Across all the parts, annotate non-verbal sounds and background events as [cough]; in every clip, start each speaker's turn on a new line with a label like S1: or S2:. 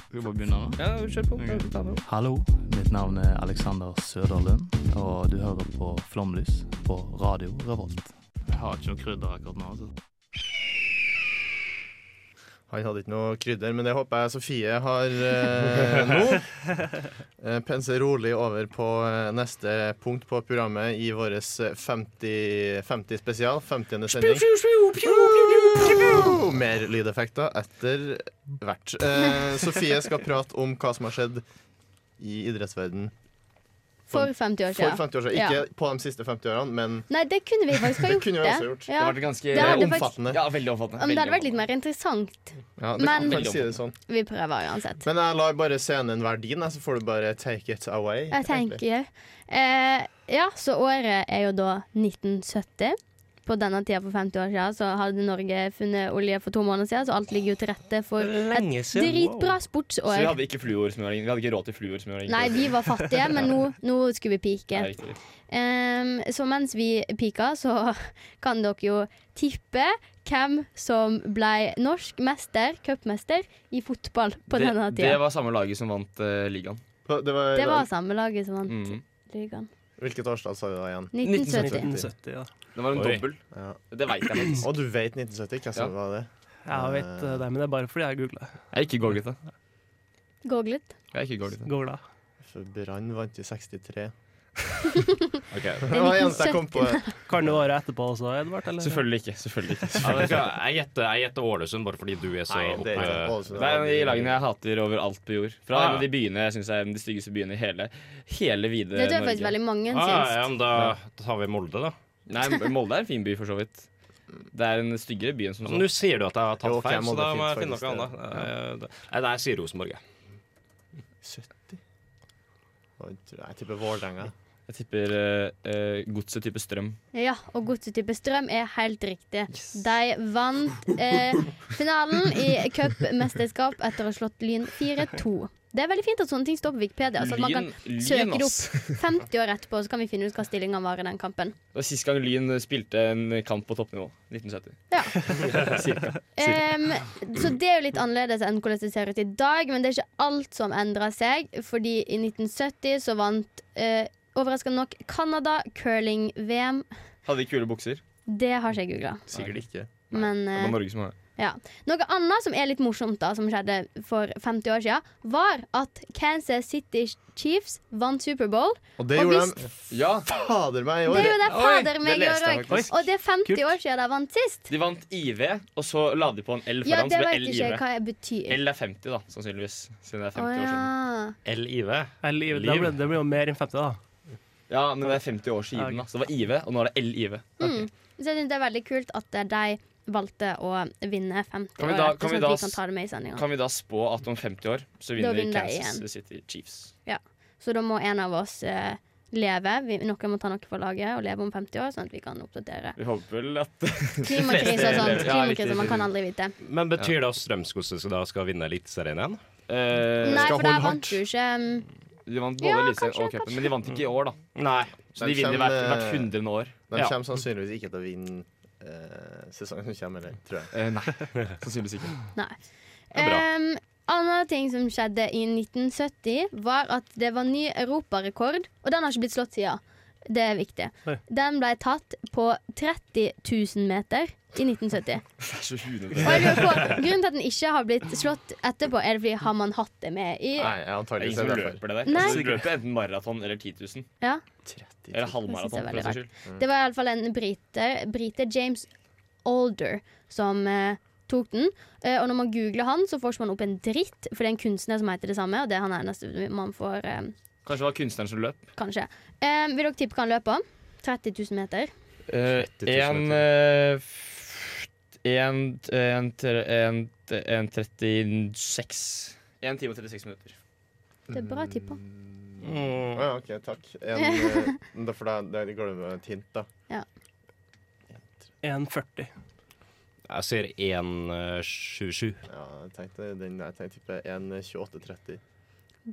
S1: Skal vi bare begynne nå?
S2: Ja, kjør på.
S3: Mm.
S1: Ok.
S2: Ta det opp.
S1: Hallo, mitt navn er Alexander Søderlund, og du hører på Flomlys på Radio Revolt. Jeg har ikke noe krydder akkurat nå. altså.
S3: Han hadde ikke noe krydder, men det håper jeg Sofie har eh, nå. Eh, Pense rolig over på eh, neste punkt på programmet i vår 50, 50 spesial. 50. sending. Wow! Mer lydeffekter etter hvert. Eh, Sofie skal prate om hva som har skjedd i idrettsverdenen
S4: For 50 år
S3: for
S4: siden.
S3: 50 år siden. Ikke på de siste 50 årene, men
S4: Nei, det kunne vi faktisk
S3: [laughs]
S4: ha
S3: Det
S4: gjort.
S3: kunne vi også gjort.
S4: Ja.
S2: Det har vært ganske
S4: Det hadde vært-
S3: omfattende.
S2: Ja, veldig omfattende.
S4: Om det hadde
S2: Veldig
S4: vært litt mer interessant.
S3: Ja, det
S4: Men-
S3: kan vel si det sånn.
S4: Vi prøver uansett.
S3: Men jeg lar bare scenen være din, jeg, så får du bare take it away.
S4: Jeg tenker eh, Ja, så året er jo da 1970. På denne tida for 50 år siden så hadde Norge funnet olje for to måneder siden, så alt ligger jo til rette for et
S5: Lenge
S4: dritbra
S2: Så vi
S4: sportsår.
S2: hadde ikke fluorsmøring. Vi hadde ikke råd til fluorsmøring.
S4: Nei, vi var fattige, men nå, nå skulle vi
S2: Det
S4: pike.
S2: er riktig.
S4: Ehm, så mens vi pika, så kan dere jo tippe hvem som ble norsk mester, cupmester, i fotball på
S2: det,
S4: denne
S2: det
S4: tida.
S2: var samme laget som vant eh, ligaen.
S3: Det var,
S4: Det var samme laget som vant
S2: Mm.
S4: ligaen.
S3: Hvilket årstall sa du da igjen?
S4: 1970.
S5: 1970, ja.
S2: Det var en
S6: Oi.
S2: dobbel.
S3: Ja.
S2: Det veit jeg faktisk.
S3: Å, du vet 1970? Hvem som var det?
S5: Jeg vet eh, det, men det er bare fordi jeg googla.
S2: Jeg er ikke googlet det.
S4: Googlet.
S2: Jeg er ikke googlet det.
S5: Googla.
S3: For Brann vant i 63.
S6: Ok.
S3: [laughs] Det var det eneste jeg kom på.
S5: Kan det året etterpå også, Edvard? Eller?
S2: Selvfølgelig ikke. selvfølgelig ikke
S6: Ja, det skal- Jeg gjetter jeg gjetter Ålesund bare fordi du er så
S3: Nei, det er ikke
S6: oppe.
S3: Ålesund.
S2: Det er en av de lagene jeg hater over alt på jord. Fra
S6: Ah.
S2: en av de byene jeg synes er de styggeste byene i hele, hele vide
S4: Det tror jeg
S2: Norge.
S4: faktisk veldig mange
S6: Ah, ja,
S4: syns.
S6: men da tar vi Molde, da.
S2: Nei, Molde er en fin by, for så vidt. Det er en styggere by enn som
S6: Nå
S2: sånn.
S6: sier du at jeg har
S3: Jo,
S6: tatt
S3: ok,
S6: feil, så
S3: Molde
S6: da
S3: er
S6: må jeg
S3: fint,
S6: finne noe
S3: faktisk,
S6: annet. Eh, Nei, nei, jeg sier Rosenborg, jeg.
S3: 70? Oi, tror Jeg jeg tipper Vålerenga.
S2: Jeg tipper uh, godset type strøm.
S4: Ja, og godsetype Strøm er helt riktig. De vant eh, finalen i cupmesterskap etter å ha slått Lyn 4-2. Det er veldig fint at sånne ting står på Wikipedia. Så at man kan søke det
S2: ass.
S4: opp 50 år etterpå, så kan vi finne ut hva stillinga var i den kampen.
S2: Det var sist gang Lyn spilte en kamp på toppnivå. 1970.
S4: Ja.
S2: [laughs] Cirka.
S4: Em, så det er jo litt annerledes enn hvordan det ser ut i dag, men det er ikke alt som endrer seg. Fordi i 1970 så vant eh, overraskende nok Canada curling-VM.
S2: Hadde de kule bukser?
S4: Det har ikke jeg googla.
S3: Sikkert ikke.
S4: Men
S2: Det var
S4: eh,
S2: Norge som hadde det.
S4: noe annet som er litt morsomt, da som skjedde for 50 år siden, var at Kansas City Chiefs vant Superbowl.
S3: Og det
S4: Og
S3: gjorde
S4: hvis-
S3: de
S2: Ja,
S3: fader meg i
S4: Det
S3: år!
S4: gjorde
S2: Oi,
S4: fader
S2: det
S4: meg i
S2: leste
S4: år
S2: jeg
S4: òg.
S2: faktisk.
S4: Og det er 50
S5: Kult.
S4: år siden de vant sist.
S2: de vant IV, og så la de på en L
S4: Ja,
S2: foran,
S4: det
S2: så ble
S4: vet
S2: L
S4: ikke jeg
S2: IV.
S4: hva det betyr.
S2: L er 50, da, sannsynligvis. Siden det er 50
S4: Å
S2: år
S4: ja.
S2: siden.
S6: LIV.
S5: Jeg liv,
S6: Liv.
S5: det, ble, det blir jo mer enn 50, da.
S2: Ja, men det er 50 år siden, da. Så det var IV, og nå er det LIV.
S4: Mm. Så jeg synes det er veldig kult at eh, de valgte å vinne 50
S2: Kan vi
S4: år
S2: da-
S4: etter,
S2: kan vi
S4: sånn
S2: da
S4: at vi
S2: s-
S4: kan ta det med i sendinga.
S2: Kan vi da spå at om 50 år så
S4: Da
S2: vinner,
S4: vinner de
S2: Kansas
S4: igjen.
S2: City Chiefs?
S4: Så da må en av oss eh, leve. Vi, noen må ta noe for laget og leve om 50 år, sånn at vi kan
S2: [laughs]
S4: oppdatere.
S2: Vi håper vel at eh,
S4: Klimakrise og sånt.
S2: lever. Ja, riktig,
S4: Klimakrise, man
S2: riktig,
S4: kan aldri vite.
S6: Men betyr det at Strømsgodset skal da skal vinne Eliteserien igjen?
S2: Eh,
S4: Nei,
S3: skal
S4: for der
S3: holde
S4: vant du ikke mm,
S2: De vant både
S4: Ja,
S2: Eliteserien
S4: kanskje,
S2: og cupen,
S4: kanskje.
S2: men de vant ikke i år, da.
S6: Nei.
S2: Så
S3: Men
S2: de vinner
S3: kommer,
S2: hvert, hvert
S3: eh,
S2: hundrende år.
S3: De
S6: Ja.
S3: kommer sannsynligvis ikke til å vinne eh, sesongen som kommer, eller, tror jeg.
S2: Eh, nei, [laughs] sannsynligvis ikke.
S4: Nei.
S6: er bra.
S4: Em, Anna ting som skjedde i 1970, var at det var ny europarekord, og den har ikke blitt slått siden. Det er viktig.
S5: Oi.
S4: Den ble tatt på 30 000 meter i 1970.
S2: Det er så
S4: Og jeg
S2: hunete.
S4: lurer på, Grunnen til at den ikke har blitt slått etterpå, er det fordi har man hatt det med i
S3: Nei,
S2: Det er
S3: antakeligvis
S2: ingen som
S3: er det derfor.
S2: løper det der.
S4: Nei.
S2: Altså, du løper enten maraton eller 10 000.
S3: 30
S2: Eller
S3: 000.
S4: Jeg synes det er
S2: halvmaraton, for den
S4: veldig
S2: saks skyld.
S4: Det var iallfall en brite, brite James Alder som eh, tok den. Eh, og når man googler han, så får ikke man opp en dritt, for det er en kunstner som heter det samme, og det er han eneste man får, eh,
S2: Kanskje det var kunstneren som løp.
S4: kanskje. Eh, vil dere tippe hva han løper? 30 000 meter.
S2: Eh,
S6: 30 000
S2: En eh, f- En en tre- en- en 36 1 time og 36 minutter.
S4: Det er bra tippa.
S3: Å
S2: Mm.
S3: ja, OK, takk. En, eh, for da, da glemmer jeg et hint, da.
S5: 1,40.
S6: Jeg sier eh, 1,77.
S3: Ja, jeg tenkte den jeg tenkte type 1,28,30.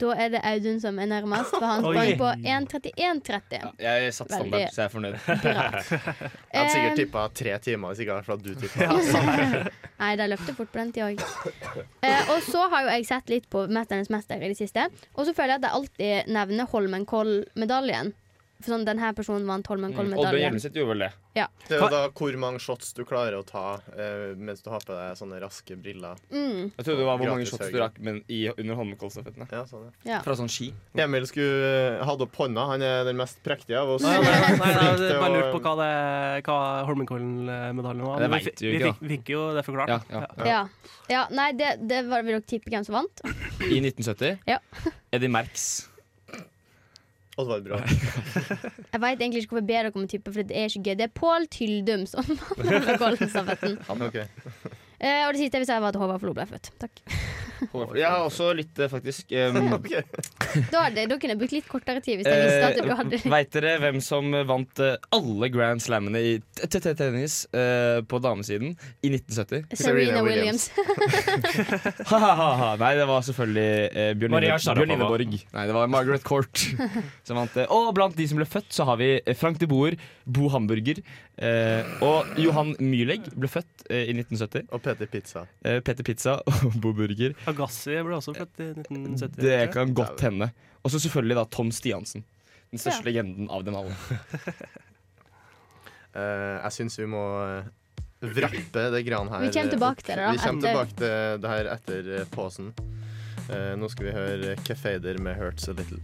S4: Da er det Audun som er nærmest, for han
S5: Oi.
S4: sprang på 1.31,30.
S2: Jeg satte standard,
S4: Veldig.
S2: så jeg er fornøyd.
S4: Bra.
S3: Jeg hadde
S4: Eh,
S3: sikkert tippa tre timer hvis ikke det var for at du tippa.
S4: [laughs] Nei, de løpte fort på den tida òg. Eh, og så har jo jeg sett litt på 'Mesternes mester' i det siste. Og så føler jeg at de alltid nevner Holmenkollmedaljen. For sånn, denne personen vant
S2: Oddbjørn
S4: Holmenkollmedaljen.
S2: Hjelmeset gjorde vel det.
S3: Det er jo da hvor mange shots du klarer å ta eh, mens du har på deg sånne raske briller.
S4: Mm,
S2: Jeg trodde det var hvor mange
S3: Gratis
S2: shots du
S3: Haugen.
S2: rakk men i, under Holmenkollstafettene.
S3: Ja, sånn, ja.
S4: ja.
S2: Fra sånn ski.
S3: Emil skulle eh, hadde opp hånda. Han er den mest prektige av oss.
S5: Nei, nei, nei, nei,
S3: Flink
S5: jeg
S3: til
S5: bare
S3: å-
S5: lurte på hva, det- hva Holmenkollen-medaljen var.
S2: Ja, det
S5: Men vi,
S2: vet
S5: fi-
S2: vi jo
S5: vi
S2: ikke,
S5: fikk, fikk jo det forklart.
S2: Ja, ja.
S4: ja. ja nei, det, det var, vil dere tippe hvem som vant?
S2: I 1970.
S4: Ja.
S2: Eddie Merx.
S3: Oddvar Brå.
S4: Jeg veit egentlig ikke hvorfor jeg ber dere om å tippe, for det er ikke gøy. Det er Pål Tyldum som [laughs] vant
S2: [laughs]
S4: Holmenkollstafetten.
S3: Ok.
S4: Eh, og det siste jeg vil si, var at Håvard Flo ble født. Takk.
S2: Jeg har også litt, eh, faktisk.
S3: [laughs]
S2: Um,
S3: Ok.
S4: Da, hadde, da kunne jeg brukt litt kortere tid hvis
S2: Eh,
S4: jeg visste at dere
S2: [laughs]
S4: hadde
S2: Veit dere hvem som vant eh, alle grand slammene i t- t- t- tennis eh, på damesiden i 1970?
S4: [laughs] Serena
S3: Serena
S4: Williams.
S3: Williams.
S2: Ha, ha, ha, ha. Nei, det var selvfølgelig eh, Bjørn,
S6: Maria
S2: Line,
S6: Sharapova.
S2: Bjørn Lineborg. Nei, det var Margaret Court [laughs] som vant det. Og blant de som ble født, så har vi eh, Frank de Boer, Bo Hamburger. eh, og Johan Myhlegg ble født eh, i 1970.
S3: Og Peter Pizza.
S2: eh, Peter Pizza [laughs] og Bo Burger.
S5: Agassi ble også født i 1970.
S2: Det kan godt hende. Og så selvfølgelig da Tom Stiansen. Den største
S4: Ja.
S2: legenden av dem alle.
S3: Eh, jeg syns vi må eh, vrappe det gran her.
S4: Vi kommer tilbake til det da,
S3: Vi kommer
S4: etter-
S3: tilbake til det her etter eh, pausen. Eh, nå skal vi høre Cafader med 'Hurts A Little'.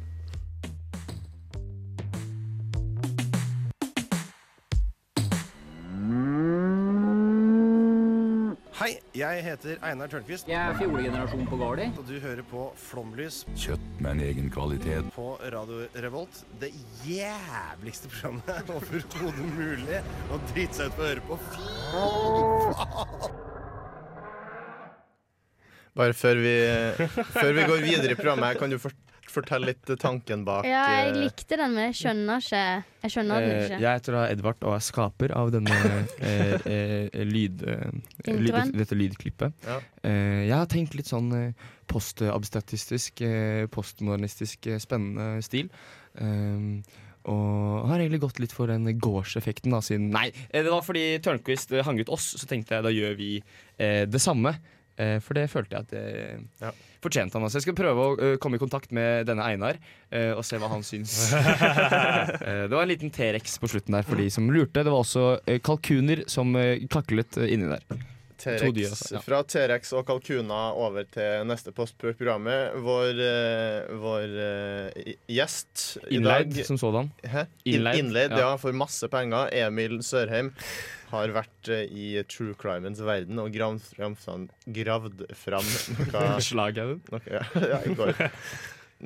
S7: Hei, jeg heter Einar Tørnquist,
S8: Jeg er fjolegenerasjon på Gardi.
S7: og du hører på Flomlys
S1: Kjøtt med en egen kvalitet.
S7: på Radio Revolt. Det jævligste programmet overhodet mulig å drite seg ut på å høre på. Fy
S3: Bare før vi, før vi går videre i programmet, her, kan du fort- fortelle litt tanken bak
S4: Ja, jeg
S3: eh,
S4: likte den, men jeg skjønner ikke Jeg skjønner den
S2: Eh,
S4: ikke.
S2: jeg heter da Edvard og er skaper av denne eh, eh, lyd, eh, lyd,
S4: Introen.
S2: dette lydklippet.
S3: Ja.
S2: Eh, jeg har tenkt litt sånn eh, postabstratistisk, eh, postmodernistisk, eh, spennende stil. Eh, og har egentlig gått litt for den gårdseffekten, da, siden Nei, eh, det var fordi Tørnquist eh, hang ut oss, så tenkte jeg da gjør vi eh, det samme. Eh, for det følte jeg at eh,
S3: Ja.
S2: fortjente han. Altså. Jeg skal prøve å eh, komme i kontakt med denne Einar eh, og se hva han syns.
S3: [laughs]
S2: Eh, Det var en liten T-rex på slutten der for de som lurte. Det var også eh, kalkuner som eh, kaklet eh, inni der. To
S3: T-rex,
S2: dyr, altså, ja.
S3: fra T-rex og kalkuner over til neste post på programmet. Vår, eh, vår eh, i- gjest i
S2: Innleid
S3: dag
S2: som sådan.
S3: Hæ?
S2: Innleid,
S3: Innleid, Innleid
S2: ja.
S3: ja. for masse penger. Emil Sørheim har vært eh, i true crimens verden og gravd fram, fram- gravd fram noe,
S2: [laughs] Slaghaugen.
S3: noe, ja, i går.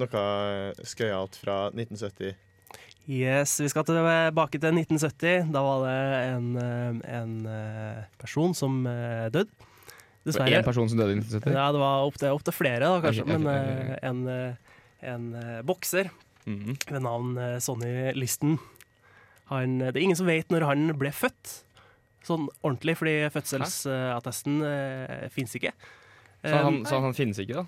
S3: noe skøyalt fra 1970.
S5: Yes, Vi skal tilbake til 1970. Da var det en, eh, en eh, person som eh, døde.
S2: Én person som døde i 1970.
S5: Ja, det var opptil opp til flere, da, kanskje.
S2: Ok, ok,
S5: Men
S2: ok,
S5: eh, en, eh, en eh, bokser
S2: Mhm.
S5: ved navn eh, Sonny Listen han, eh, Det er ingen som vet når han ble født, sånn ordentlig, fordi fødselsattesten uh, fins ikke.
S2: Så, han,
S5: Eh,
S2: så han finnes ikke, da?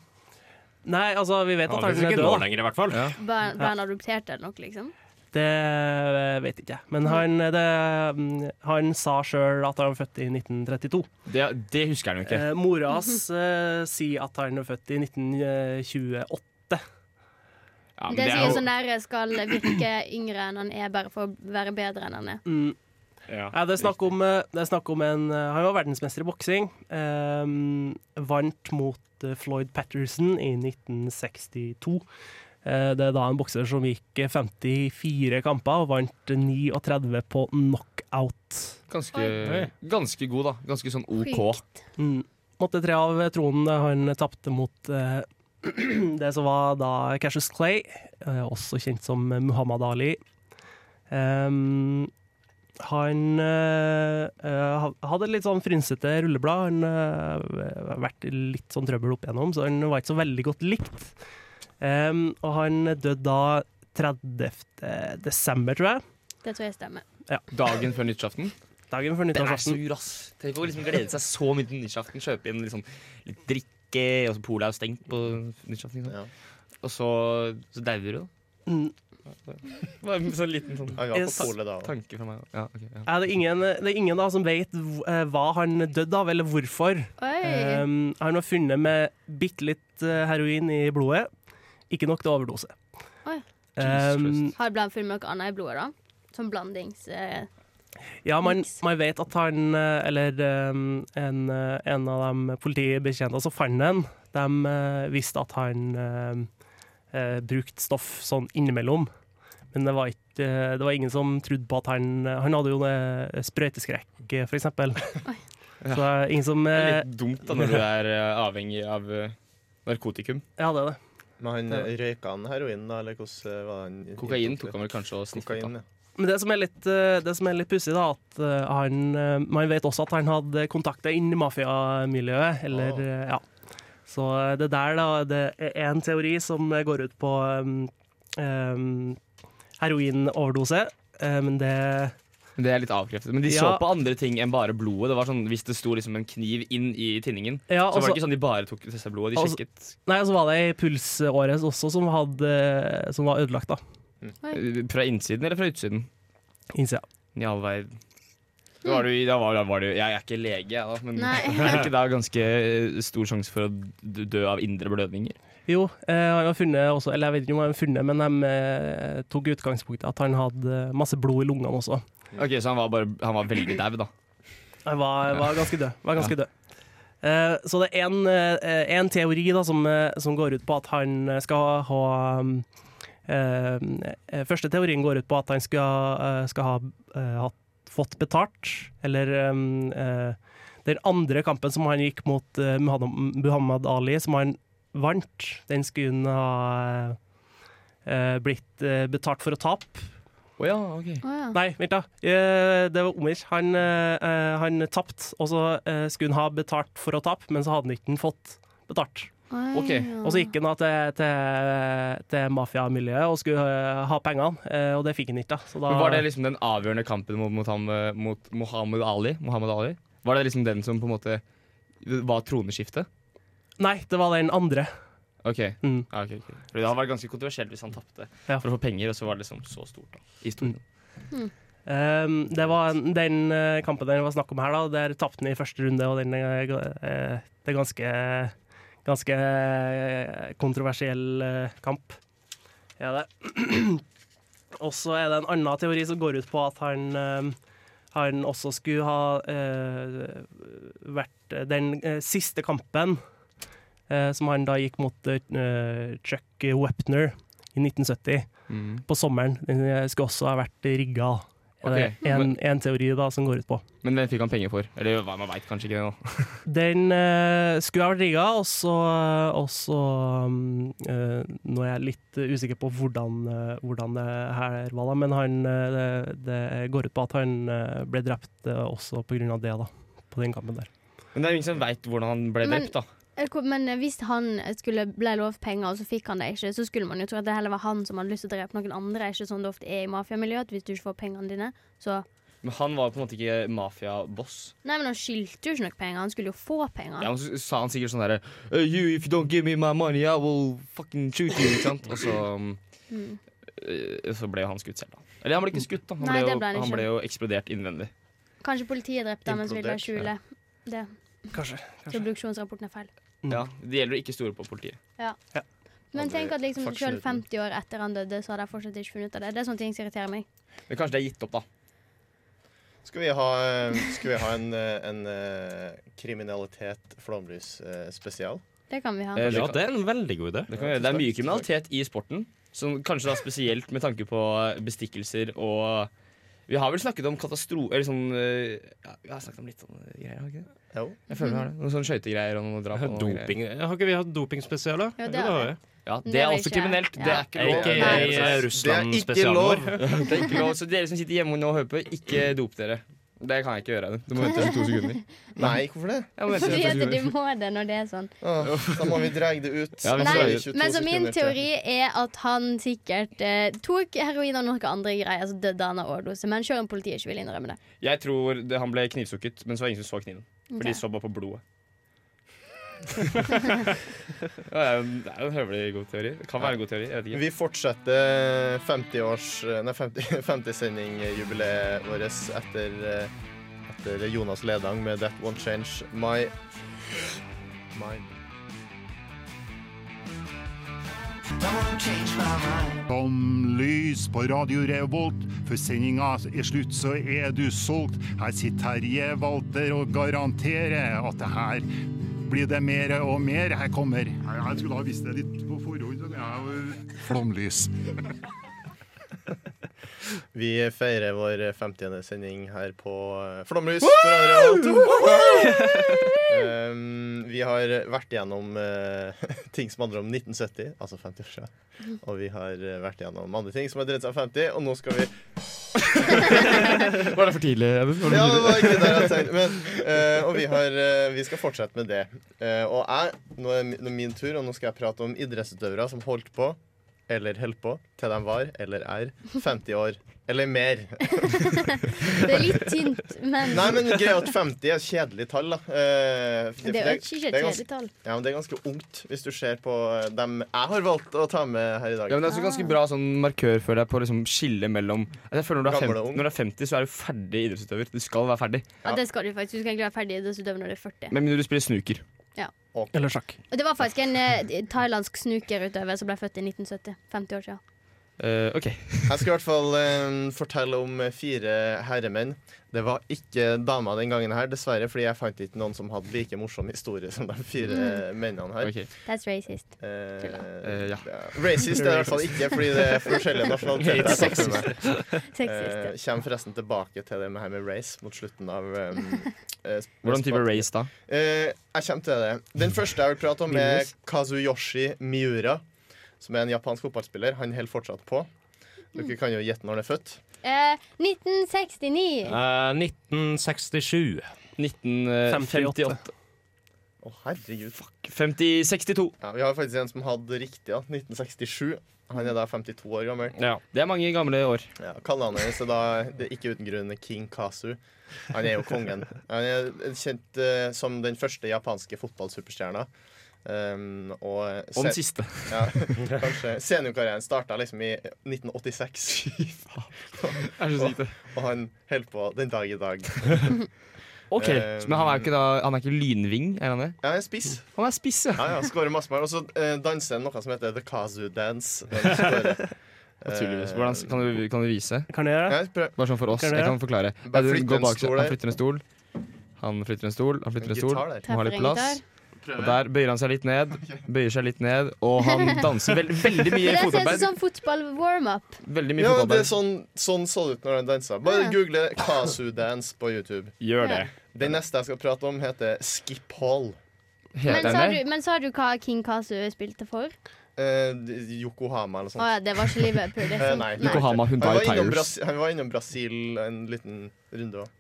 S5: Nei, altså, vi vet at
S6: Han
S5: han
S6: finnes
S5: er
S6: ikke
S5: død.
S6: nå
S5: da.
S6: lenger, i hvert fall.
S4: Ble ble han adoptert eller noe, liksom?
S5: Det eh, vet ikke jeg. Men han, eh, det, mm, han sa sjøl at han var født i 1932.
S2: Det, det husker han jo ikke.
S5: Eh, mora hans eh, sier at han er født i eh, 1928.
S2: Ja, men
S4: det
S2: er
S4: sier
S2: jo-
S4: sånn der skal virke yngre enn han er, bare for å være bedre enn han er.
S5: Mm.
S2: ja.
S5: Ja, det, er snakk om, eh, det er snakk om en eh, Han var verdensmester i boksing. eh, vant mot eh, Floyd Patterson i 1962. Eh, eh, det er da en bokser som gikk eh, 54 kamper og vant 39 på knockout. Out.
S2: Ganske, ganske god, da. Ganske sånn OK.
S5: Mm. Måtte tre av tronen da han tapte mot eh, [clears throat] det som var da Cassius Clay, eh, også kjent som Muhammad Ali. Ehm, han eh, eh, ha- hadde litt sånn frynsete rulleblad. Han eh, har vært i litt sånn trøbbel opp igjennom, så han var ikke så veldig godt likt. Ehm, og han døde da 30. desember, tror jeg.
S4: Det tror jeg stemmer.
S2: Dagen før [laughs] nyttårsaften?
S5: Dagen før
S2: Den er
S5: nyttårsaften.
S2: sur, ass. Tenk å liksom glede seg så mye til nyttårsaften. Kjøpe inn liksom, litt drikke, og så polet er jo stengt på nyttårsaften. ikke sant? Og så, så dauer du, da.
S5: Mm.
S2: Det var en sånn liten sånn
S5: Han var på polet da, også.
S2: tanke fra meg. da. Eh, Ja, ok, ja.
S5: Ja, det, er ingen, det er ingen da som vet hv- eh, hva han døde av, eller hvorfor.
S4: Oi.
S2: Eh.
S5: Ehm, han var funnet med bitte litt eh, heroin i blodet. Ikke nok til overdose.
S4: Oi.
S5: Ehm,
S4: Har blant funnet noe annet i blodet, da? Som blandings... Eh,
S5: ja, man, man vet at han, eh, eller ehm, en, eh, en av de politibetjentene som fant den, de eh, visste at han ehm, eh, brukte stoff sånn innimellom. Men det var, ikke, eh, det var ingen som trodde på at han Han hadde jo eh, sprøyteskrekk, eh, for eksempel. Så det er ingen som
S2: Det
S5: eh,
S2: er litt dumt da når du er eh, avhengig av eh, narkotikum.
S5: Ja, det er det.
S3: Men han
S5: Det er
S3: eh, røyka han heroin, da? Eller hvordan eh, var han?
S2: Kokain tok han vel kanskje og sniffet,
S3: Kokain,
S2: da.
S3: ja.
S5: Men det som er litt, eh, det som er litt pussig, da, at eh, han eh, Man vet også at han hadde kontakter innen mafiamiljøet, eller eh, Ja. Så eh, det der, da, det er en teori som går ut på um, um, heroinoverdose, eh, men det
S2: Men Det er litt avkreftet. Men de så
S5: Ja.
S2: på andre ting enn bare blodet. Det var sånn, Hvis det sto liksom en kniv inn i tinningen,
S5: Ja,
S2: så var det
S5: altså-
S2: ikke sånn de bare tok testa blodet. De
S5: Altså-
S2: sjekket
S5: Nei, og så var det ei pulsåre også som, hadde, som var ødelagt, da.
S2: Eh, Fra innsiden eller fra utsiden?
S5: Innsida.
S2: I all verden. Da var du, da var, da var du, jeg er ikke lege, jeg, da, men
S5: Nei.
S2: [laughs] er ikke da ganske eh, stor sjanse for å d- dø av indre blødninger?
S5: Jo, eh, han har funnet også, eller jeg vet ikke om han har funnet, men de eh, tok utgangspunktet at han hadde masse blod i lungene også.
S2: Ok, Så han var, bare, han var veldig dau, da.
S5: Jeg var, var ganske død. Var
S2: Ja.
S5: ganske død. Eh, så det er en, eh, en teori da, som, eh, som går ut på at han skal ha um, eh, eh, Første teorien går ut på at han skal, eh, skal ha eh, hatt, fått betalt, eller um, eh, Den andre kampen som han gikk mot eh, Muhammad Muhammad Ali, som han vant, den skulle han ha eh, blitt eh, betalt for å tape.
S2: Å ja, ok.
S5: Nei, vent da. Eh, Det var omvendt. Han, eh, eh, han tapte, og så eh, skulle han ha betalt for å tape, men så hadde han ikke den fått betalt.
S2: Oi, Ok. ja.
S5: Og så gikk han da til, til, til mafiamiljøet og skulle eh, ha pengene, eh, og det fikk han ikke. Da. Så da
S2: Men Var det liksom den avgjørende kampen mot, mot, ham, eh, mot Mohammed Ali? Mohammed Ali? Var det liksom den som på en måte var troneskiftet?
S5: Nei, det var den andre.
S2: Ok.
S4: Mm.
S2: Ja, ok, ok. Fordi det hadde vært ganske kontroversielt hvis han tapte for å få penger, og så var det liksom så stort. da, i historien.
S5: Um, det var en- den eh, kampen det var snakk om her, da. Der tapte han i første runde, og den eh, eh, Det er ganske Ganske eh, kontroversiell eh, kamp. Ja, det. [clears throat] og så er det en annen teori som går ut på at han eh, han også skulle ha eh, vært den eh, siste kampen eh, som han da gikk mot eh, Chuck Wepner i 1970
S2: Mm.
S5: på sommeren. Den eh, skulle også ha vært rigga. Er det
S2: Ok,
S5: en,
S2: men-
S5: en teori da som går ut på.
S2: Men hvem fikk han penger for? Eller hva, man veit kanskje ikke det nå.
S5: Den eh, skulle ha vært rigga, og så, og så um, eh, Nå er jeg litt usikker på hvordan, eh, hvordan det her var, da, men han, eh, det, det går ut på at han eh, ble drept eh, også på grunn av det, da. På den kampen der.
S2: [laughs] Men det er jo ingen som veit hvordan han ble
S4: Men-
S2: drept, da.
S4: eh, hvor- Men eh, hvis han skulle ble lovt penger, og så fikk han det ikke, så skulle man jo tro at det heller var han som hadde lyst til å drepe noen andre. Ikke sånn det ofte er i mafiamiljøet, at hvis du ikke får pengene dine, så
S2: Men han var jo på en måte ikke mafiaboss.
S4: Nei, men han skyldte jo ikke nok penger, han skulle jo få penger.
S2: Ja, men så sa han sikkert sånn derre «Uh, You, if you don't give me my money, I will fucking shoot you. Ikke sant? Og så, um,
S4: Mm.
S2: eh, så ble jo han skutt selv, da. Eller han ble ikke skutt, da. Han,
S4: Nei,
S2: ble,
S4: det
S2: jo,
S4: ble han
S2: han
S4: ikke.
S2: ble jo eksplodert innvendig.
S4: Kanskje politiet drepte ham, men så ville de skjule
S2: Implodert,
S4: det.
S5: Kanskje.
S4: Så obduksjonsrapporten er feil.
S2: Ja, Det gjelder å ikke stole på politiet.
S4: Ja. Men
S2: Aldri
S4: tenk at liksom
S2: fuck
S4: selv
S2: snuten.
S4: 50 år etter han døde, så har de fortsatt ikke funnet ut av det. Det er sånne ting som irriterer meg.
S2: Men kanskje det er gitt opp, da.
S3: Skal vi ha, eh, skal vi ha en, eh, en eh, kriminalitet flomlys eh, spesial?
S4: Det kan vi ha. [laughs]
S3: Eh,
S6: Ja, det er en veldig god idé.
S2: Det, kan vi gjøre. det er mye kriminalitet i sporten, som kanskje da spesielt med tanke på bestikkelser eh, og Vi har vel snakket om katastro... Eller sånn eh, ja, Vi har snakket om litt sånne greier, har vi ikke det? Jeg føler vi har det. Noen sånne skøytegreier og noe drap. og noe
S6: Doping.
S2: greier.
S6: Har ikke vi hatt dopingspesialer?
S4: Jo, det
S6: Jo,
S4: har vi.
S2: Ja,
S4: Men
S2: det er
S4: det
S2: også
S4: vil ikke jeg.
S2: kriminelt. Det
S4: Ja.
S2: er ikke lov.
S6: Ikke i
S2: Det er-
S6: Russland
S2: det er ikke
S6: spesialen
S2: lov.
S6: vår.
S2: [laughs] Det er ikke lov. Så dere som sitter hjemme nå og hører på, ikke dop dere. Det kan jeg ikke gjøre. Du må vente i to sekunder.
S3: Nei, hvorfor det?
S2: Jeg må vente i
S4: Fordi
S2: to
S4: at de
S2: sekunder.
S4: må det når det er sånn.
S3: Åh, da må vi dra det ut.
S2: Ja, vi får
S4: Nei,
S2: dra det ut.
S4: men så min
S3: 22 sekunder til.
S4: teori er at han sikkert eh, tok heroin og noen andre greier, så døde han av overdose. Men selv om politiet ikke vil innrømme det.
S2: Jeg tror det, han ble knivstukket, men så var det ingen som så kniven. For
S4: Ok.
S2: de så bare på blodet. [laughs] det er jo en- det er jo en høvelig god teori. Det kan være en god teori. Jeg vet ikke.
S3: Vi fortsetter 50-års- nei, [laughs] 50 50-sendingjubileet 50 vårt etter, eh, etter Jonas Ledang med That Won't Change My Mind.
S8: Som lys på Radio Revolt, for sendinga er slutt, så er du solgt. Her sitter Terje Walter og garanterer at det her blir det mer og mer. Her kommer Jeg skulle ha visst det litt på forhånd. Flomlys.
S3: Vi feirer vår 50. sending her på eh, Flomlys. for Radio Revolt. Um, vi har vært gjennom eh, [laughs] ting som handler om 1970, altså 50 år siden. Og vi har eh, vært gjennom andre ting som har dreid seg om 50, og nå skal vi
S2: [laughs] Var det for tidlig? Even? Var det
S3: Ja,
S2: for
S3: det var
S2: tidlig?
S3: ikke det jeg tenkte. Men, eh, og vi, har, eh, vi skal fortsette med det. Eh, og jeg, nå er mi- nå er min tur, og nå skal jeg prate om idrettsutøvere som holdt på, eller holdt på, til de var, eller er, 50 år eller mer.
S4: Det er litt tynt, men
S3: Nei, men greia er at 50 er et kjedelig tall, da. Eh, det
S4: det er jo ikke et
S3: er gans-
S4: kjedelig tall.
S3: Ja, men det er ganske ungt, hvis du ser på eh, dem jeg har valgt å ta med her i dag.
S2: Ja, men det er også ganske bra sånn markør føler jeg på liksom skille mellom altså jeg føler når du, er
S3: Gammel og
S2: 50,
S3: ung.
S2: når du er 50, så er du ferdig idrettsutøver. Du skal være ferdig.
S4: Ja, det skal du faktisk. Du skal egentlig være ferdig idrettsutøver når du er 40.
S2: Med mindre du spiller snooker.
S4: Ja.
S5: Eller sjakk.
S4: Og det var faktisk en eh, thailandsk snukerutøver som ble født i 1970. 50 år siden.
S2: Eh, OK.
S3: Jeg skal i hvert fall eh, fortelle om fire herremenn. Det var ikke dama den gangen her, dessverre, fordi jeg fant ikke noen som hadde like morsom historie som de fire
S4: Mm.
S3: mennene her.
S2: ok.
S4: That's racist.
S3: Eh,
S2: Eh, ja.
S3: ja. Racist er det i hvert fall ikke, fordi det er
S2: [laughs]
S3: forskjellige nasjonaliteter. jeg har fått med meg.
S4: Sexist.
S3: Eh, Kjem forresten tilbake til det med her med race mot slutten av eh, eh,
S2: Hvordan type race, da?
S3: Eh, jeg kommer til det. Den første jeg vil prate om, er Kazuyoshi Miura. Som er en japansk fotballspiller. Han holder fortsatt på. Dere kan jo gjette når han er født.
S4: Eh, 1969.
S6: Eh, 1967.
S2: eh, 1958.
S5: 58.
S3: Å, herregud.
S2: 50, 62.
S3: Ja, vi har faktisk en som hadde riktig. Ja. 1967. Han er da 52 år gammel.
S2: Ja. Det er mange gamle år.
S3: Ja, Kallenavnet hans er da det er ikke uten grunn King Kazu. Han er jo kongen. Han er kjent eh, som den første japanske fotballsuperstjerna. Um, og
S2: Og den
S3: [laughs]
S2: siste.
S3: Ja, kanskje. Seniorkarrieren starta liksom i [laughs] 1986,
S2: Er så sykt, det.
S3: og han holder på den dag i dag.
S2: OK.
S3: Eh,
S2: Men han er ikke, da, han er ikke lynving? Er han det?
S3: Ja, han er spiss.
S2: Han er spiss, ja.
S3: Ja, ja, skårer masse mål. Og så eh, danser han noe som heter the Kazu
S2: [laughs]
S3: dance. når han skårer.
S2: Naturligvis. Hvordan, kan, du, kan du vise?
S5: Kan jeg gjøre det?
S3: Ja, prøv.
S2: Bare sånn for oss.
S5: Kan du
S2: Jeg
S5: det?
S2: kan forklare.
S3: Bare
S2: Ja, du
S3: flytt
S2: går
S3: en
S2: bak-
S3: stol
S2: Han
S3: der.
S2: flytter en stol. Han flytter en stol. Han flytter en stol.
S3: gitar der.
S2: Må ha litt
S4: Treffer en
S2: plass.
S4: gitar.
S2: Og der bøyer han seg litt
S3: [laughs]
S2: ned, bøyer seg litt ned, og
S4: [laughs]
S2: han danser veld, veldig mye
S4: Det der ser ut
S2: fotarbeid.
S4: som sånn- fotball-warm-up.
S2: Veldig mye
S3: Ja, men det er
S2: fotarbeid.
S3: sånn, sånn så det ut når han dansa. Bare
S4: Ja.
S3: google Kazu dance på YouTube.
S2: Gjør det.
S4: Ja.
S3: Den neste jeg skal prate om, heter Skip Hall.
S4: Men
S2: Heter
S4: sa,
S2: han
S4: du,
S2: det?
S4: men sa du hva King Kazu spilte for?
S3: Eh, Yokohama eller
S4: Å
S3: sånt.
S4: ja, det var ikke Liverpool. Det er sånn-
S3: Eh,
S4: sant.
S3: nei, det er ikke.
S2: Yokohama
S3: Han
S2: Hundai
S3: var, innom
S2: Tires.
S3: Brasil, han var innom Brasil en liten runde òg.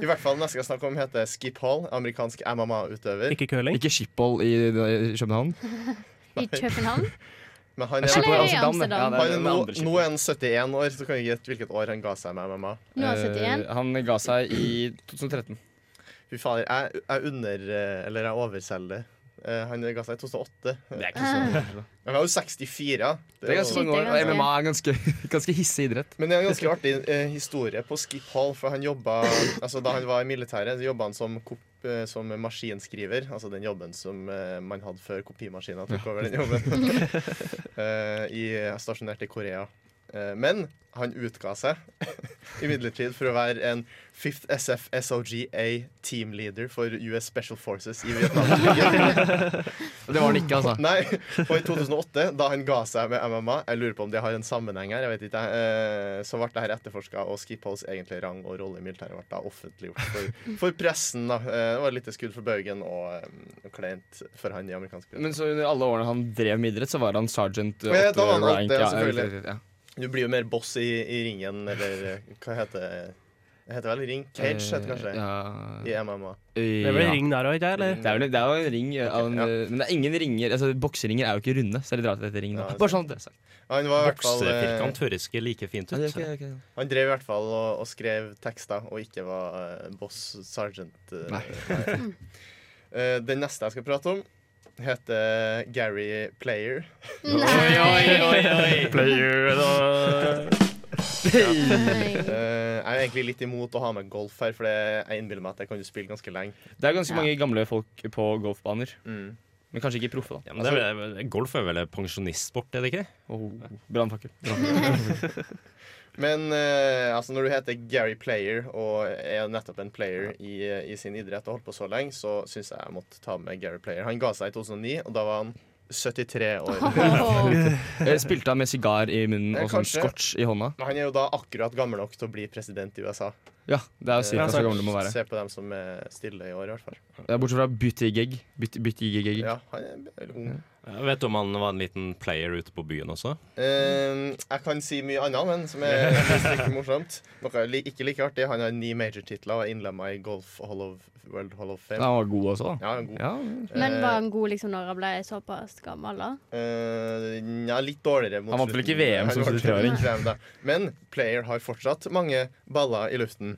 S3: I hvert fall neste jeg snakker om, heter Skip Hall. Amerikansk MMA-utøver.
S5: Ikke curling.
S2: Ikke Schiphol i, i København.
S4: I København?
S3: Men han
S2: Schiphol
S4: Eller
S2: i
S4: i
S3: er,
S2: Amsterdam, det.
S4: Amsterdam.
S2: Ja,
S3: han
S2: det
S3: er
S2: er
S3: nå,
S2: andre Schiphol.
S3: nå er han 71 år, så kan jeg gjette hvilket år han ga seg med MMA.
S4: Nå er han 71.
S2: Eh, han ga seg i 2013.
S3: Fy fader, jeg, jeg under... Eller jeg overselger det. Eh, Han ga seg i 2008.
S2: Det er ikke så
S3: Han var jo 64. ja.
S2: Det er
S3: jo-
S2: ganske
S4: Shit,
S2: mange
S4: det er
S2: år. og
S4: Ah. ganske-
S2: MMA er ganske, [laughs] ganske hissig idrett.
S3: Men det er en ganske artig eh, historie på Skip Hall, for han jobba Altså, da han var i militæret, så jobba han som, kop, eh, som maskinskriver. Altså den jobben som eh, man hadde [laughs] før kopimaskina tok over den jobben. eh, i, stasjonert i Korea. Eh, Men han utga seg [laughs] imidlertid for å være en 5th SF SOGA team leader for US Special Forces i Vietnam.
S1: Det var han ikke, altså.
S3: Nei. Og i 2008, da han ga seg med MMA, jeg lurer på om det har en sammenheng her, jeg vet ikke, eh, så ble det her etterforska, og Skipholds egentlige rang og rolle i militæret ble da offentliggjort for, for pressen. da. Eh, Det var et lite skudd for baugen og eh, kleint for han i amerikansk presse.
S2: Men så under alle årene han drev med idrett, så var han sergeant eh,
S3: Ja,
S2: åtte
S3: da var han alt
S2: rank,
S3: det,
S2: ja,
S3: selvfølgelig.
S2: riktig, ja.
S3: Du blir jo mer boss i, i ringen, eller eh, hva heter det? Det heter vel ring? Cage
S2: Eh,
S3: heter kanskje det? I MMA.
S5: Det er vel ring der òg, ikke eller?
S2: Det er, vel, det er jo en ring, eh, av en, eh, men det er ingen ringer altså, Bokseringer er jo ikke runde, så det er litt rart at det heter ring. Da. Bare sånn at det er sagt.
S3: Han var i hvert fall eh,
S6: Boksefirkant høres ikke like fint ut.
S2: Ja, det er ok, ok.
S3: Han drev i hvert fall og, og skrev tekster, og ikke var eh, boss sergeant. eh,
S2: Nei.
S3: nei. [laughs] Eh, den neste jeg skal prate om, heter Gary Player.
S4: Nei. Eh, Oi, oi, oi, oi.
S3: Player,
S4: da. Nei. [laughs]
S3: Eh, jeg er egentlig litt imot å ha med golf her, for det- jeg innbiller meg at jeg kan jo spille ganske lenge.
S2: Det er ganske mange gamle folk på golfbaner.
S3: Mm.
S2: Men kanskje ikke proffe, da.
S3: men det er vel-
S6: golf er vel en pensjonistsport, er det ikke?
S2: Oh,
S3: [laughs]
S2: Brannfakkel.
S3: Men eh, altså når du heter Gary Player og er nettopp en player i, i sin idrett og holdt på så lenge, så syns jeg jeg måtte ta med Gary Player. Han ga seg i 2009, og da var han 73
S4: [laughs]
S3: år.
S2: Eh, Spilte han med sigar i munnen og sånn
S3: Kanskje.
S2: scotch i hånda?
S3: Men han er jo da akkurat gammel nok til å bli president i USA.
S2: Ja, det er jo cirka
S3: Eh,
S2: så gammel du må være.
S3: Se på dem som er stille i år, i hvert fall.
S2: Ja, bortsett fra Buttigieg. Byt- Buttigieg.
S3: Ja, han er ung.
S6: Jeg vet du om han var en liten player ute på byen
S2: [laughs]
S6: også?
S3: Eh, jeg kan si mye annet, men som er minst like morsomt. Noe jeg li- ikke like artig. Han har ni major-titler og er innlemma i Golf Hall of World Hall of Fame.
S2: Ja, han var god også, da.
S3: Ja, han var god.
S4: Men
S3: Eh,
S4: var han god liksom når han ble såpass gammel, da?
S3: Eh, ja, litt dårligere. mot
S2: Han vant vel ikke
S3: slutten. Han
S2: VM som
S3: vant ikke
S2: 73-åring.
S3: VM da. Men Player har fortsatt mange baller i luften.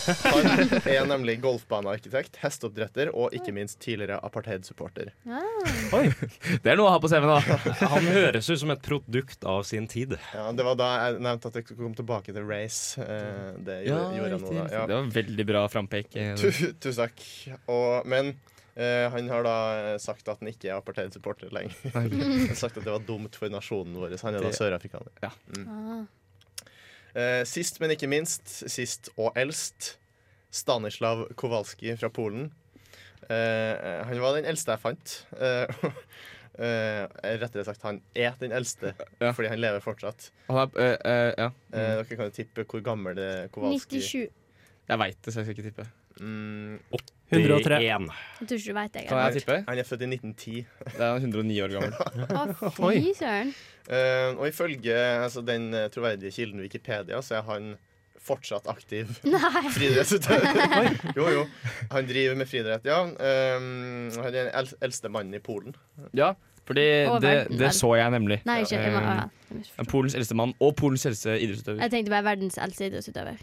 S3: Han er nemlig golfbanearkitekt, hesteoppdretter og ikke minst tidligere apartheid-supporter.
S2: Det er noe å ha på CV-en,
S3: [laughs]
S2: da.
S6: Han høres ut som et produkt av sin tid.
S3: Ja, det var da jeg nevnte at jeg kom tilbake til race. Eh, det
S2: Ja,
S3: gjorde, gjorde jeg nå,
S2: riktig,
S3: da.
S2: riktig.
S3: Ja.
S2: Det var veldig bra frampek. eh,
S3: Tu- Tusen takk. Og, men eh, han har da eh, sagt at han ikke er apartheid-supporter lenger. han har sagt at det var dumt for nasjonen vår. Han er da
S2: Det-
S3: sørafrikaner.
S2: Ja.
S4: Ah.
S3: Eh, sist, men ikke minst, sist og eldst, Stanislav Kowalski fra Polen. Eh, han var den eldste jeg fant. Eh, [laughs] eh, rettere sagt, han er den eldste, fordi han lever fortsatt.
S2: Han er, eh, eh, ja.
S3: Eh, dere kan jo tippe hvor gammel det er Kowalski
S4: 97.
S2: Jeg veit det, så jeg skal ikke tippe.
S3: Mm,
S2: 103.
S4: Jeg tror ikke du veit det.
S2: Kan jeg
S4: egentlig.
S2: tippe?
S3: Han er født i 1910.
S2: Det er 109 år gammel.
S4: Å, fy søren.
S3: Eh, og ifølge altså, den eh, troverdige kilden Wikipedia, så er han fortsatt aktiv
S4: [laughs] Nei. [laughs]
S3: friidrettsutøver. jo, jo. Han driver med friidrett, ja. Um, han er den el- eldste mannen i Polen.
S2: Ja, fordi
S4: Å,
S2: det,
S4: verden,
S2: det
S4: verden.
S2: så jeg nemlig.
S4: Nei, ikke jeg må-
S2: Eh,
S4: ja, jeg misforstod.
S2: Polens eldste mann og Polens eldste idrettsutøver.
S4: Jeg tenkte bare verdens eldste idrettsutøver.